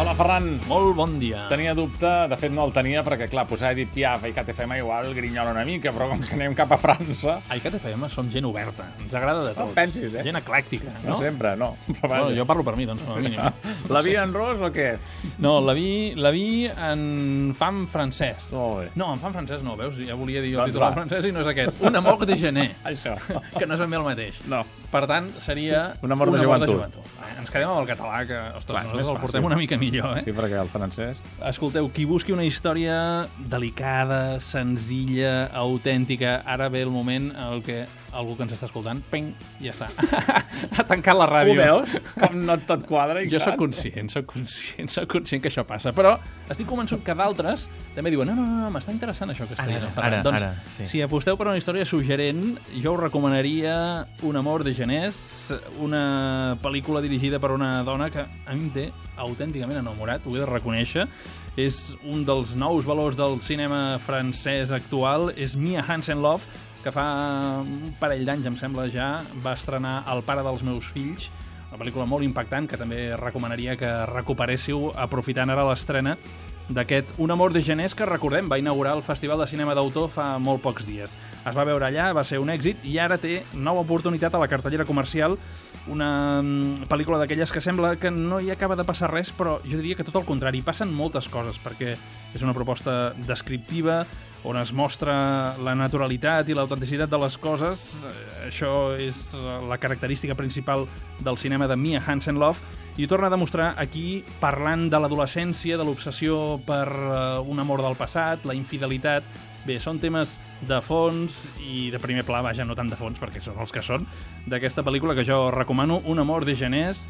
Hola, Ferran. Molt bon dia. Tenia dubte, de fet no el tenia, perquè clar, posar Edith Piaf i KTFM igual grinyola una mica, però com que anem cap a França... A ICAT FM som gent oberta, ens agrada de No tots. pensis, eh? Gent eclèctica, No, no? sempre, no. Però Bueno, vaja. jo parlo per mi, doncs, com a mínim. La via en ros o què? No, la vi, la vi en fan francès. Molt bé. No, en fan francès no, veus? Ja volia dir el Doncs titular va. francès i no és aquest. Un amor de gener, Això. que no és ben bé el mateix. No. Per tant, seria... Un amor de joventut. Eh, Ens quedem amb el català, que, ostres, Clar, és més nosaltres el fàcil. portem una mica millor, eh? Sí, perquè el francès... Escolteu, qui busqui una història delicada, senzilla, autèntica, ara ve el moment en el que algú que ens està escoltant, ping, ja està. ha tancat la Ho ràdio. veus? Com no tot quadra i Jo sóc clar. conscient, sóc conscient, sóc conscient que això passa, però estic convençut que d'altres també diuen no, no, no, no m'està interessant això que està Ara, dient. el ara, Ferran." doncs, ara, sí. si aposteu per una història suggerent, jo us recomanaria Un amor de geners, una pel·lícula dirigida per una dona que a mi em té autènticament enamorat, ho he de reconèixer. És un dels nous valors del cinema francès actual, és Mia Hansen-Love, que fa un parell d'anys, em sembla ja, va estrenar El pare dels meus fills, una pel·lícula molt impactant que també recomanaria que recuperéssiu aprofitant ara l'estrena d'aquest Un amor de geners que, recordem, va inaugurar el Festival de Cinema d'Autor fa molt pocs dies. Es va veure allà, va ser un èxit i ara té nova oportunitat a la cartellera comercial, una mm, pel·lícula d'aquelles que sembla que no hi acaba de passar res, però jo diria que tot el contrari, hi passen moltes coses, perquè és una proposta descriptiva, on es mostra la naturalitat i l'autenticitat de les coses. Eh, Això és eh, la característica principal del cinema de Mia Hansen-Love i ho torna a demostrar aquí parlant de l'adolescència, de l'obsessió per eh, un amor del passat, la infidelitat... Bé, són temes de fons i de primer pla, vaja, no tant de fons, perquè són els que són, d'aquesta pel·lícula que jo recomano, Un amor de geners,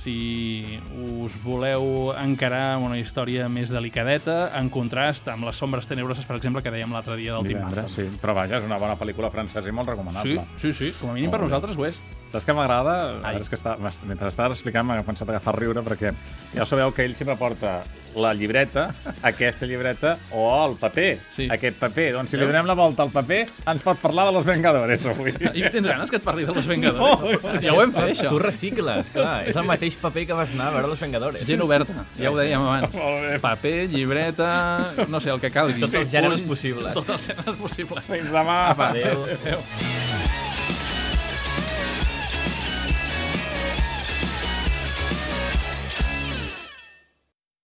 si us voleu encarar amb una història més delicadeta, en contrast amb les sombres tenebroses, per exemple, que dèiem l'altre dia del Tim Divendres, Burton. sí. Però vaja, és una bona pel·lícula francesa i molt sí, recomanable. sí, sí, com a mínim per Molt bé. nosaltres ho és. Saps què m'agrada? A Ai. veure, és que està, m'est- mentre estàs explicant m'ha començat a agafar a riure perquè ja sabeu que ell sempre porta la llibreta, aquesta llibreta, o el paper, Sí. aquest paper. Doncs si li donem la volta al paper, ens pot parlar de Los Vengadores avui. Eh. I tens ganes que et parli de Los Vengadores? No, ja ho hem fet, això. Tu recicles, clar. És el mateix paper que vas anar a veure Los Vengadores. Gent oberta, ja ho dèiem abans. Molt bé. Paper, llibreta, no sé, el que calgui. Tots els gèneres possibles. Tots els gèneres possibles. Fins demà. Apa, adéu. adéu.